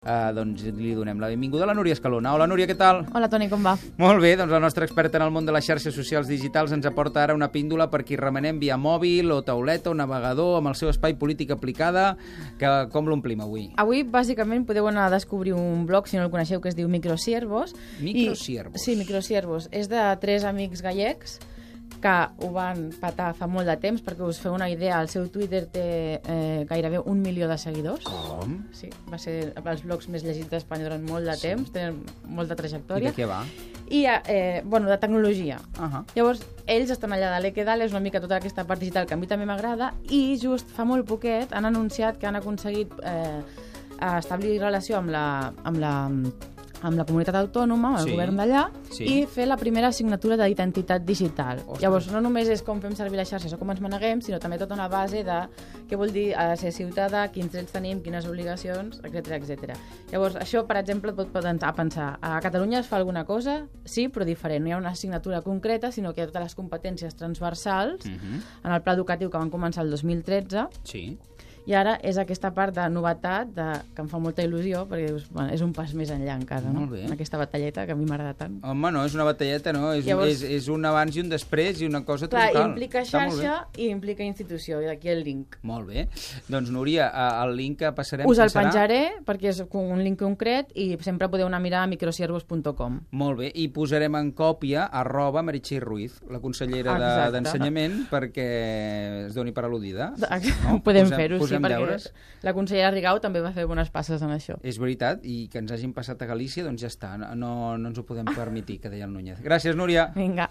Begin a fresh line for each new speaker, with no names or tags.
Uh, doncs li donem la benvinguda a la Núria Escalona. Hola, Núria, què tal?
Hola, Toni, com va?
Molt bé, doncs la nostra experta en el món de les xarxes socials digitals ens aporta ara una píndola per qui remenem via mòbil o tauleta o navegador amb el seu espai polític aplicada. Que, com l'omplim avui?
Avui, bàsicament, podeu anar a descobrir un blog, si no el coneixeu, que es diu Microsiervos.
Microsiervos.
I, sí, Microsiervos. És de tres amics gallecs que ho van patar fa molt de temps, perquè us feu una idea, el seu Twitter té eh, gairebé un milió de seguidors.
Com?
Sí, va ser els blogs més llegits d'Espanya durant molt de
Sí.
temps, tenen
I
molta trajectòria.
de què va?
I, eh, bueno, de tecnologia.
Uh -huh.
Llavors, ells estan allà de l'Eque Dale, és una mica tota aquesta part digital que a mi també m'agrada, i just fa molt poquet han anunciat que han aconseguit eh, establir relació amb la, amb la, amb la comunitat autònoma, amb el
Sí.
govern d'allà,
Sí.
i fer la primera signatura d'identitat digital.
Ostres.
Llavors, no només és com fem servir les xarxes o com ens maneguem, sinó també tota una base de què vol dir eh, ser ciutadà, quins drets tenim, quines obligacions, etc etc. Llavors, això, per exemple, et pot potenciar a pensar a Catalunya es fa alguna cosa, sí, però diferent. No hi ha una assignatura concreta, sinó que hi ha totes les competències transversals
Uh -huh.
en el pla educatiu que van començar el 2013
Sí.
i ara és aquesta part de novetat de, que em fa molta il·lusió perquè dius, bueno, és un pas més enllà encara, no?
Molt bé.
En aquesta batalleta que a mi m'agrada tant.
Home, no, és una batalleta, no? És, Llavors...
Llavors-
és, és un abans i un després i una cosa
Clar,
total.
implica
Està molt bé.
xarxa i implica institució, i d'aquí el link.
Molt bé. Doncs, Núria, eh, el link que passarem...
Us
quin
el
serà?
penjaré perquè és un link concret i sempre podeu anar a mirar a microsiervos.com.
Molt bé, i posarem en còpia arroba Meritxell Ruiz, la consellera de-
Exacte.
d'Ensenyament, de, perquè es doni per al·ludida.
No? Podem
Posem-
fer-ho, sí,
posem
perquè
deures.
la consellera Rigau també va fer bones passes en això.
És veritat, i que ens hagin passat a Galícia, doncs ja està, no, no ens ho podem permetre, que deia el Núñez. Gràcies, Núria.
Vinga.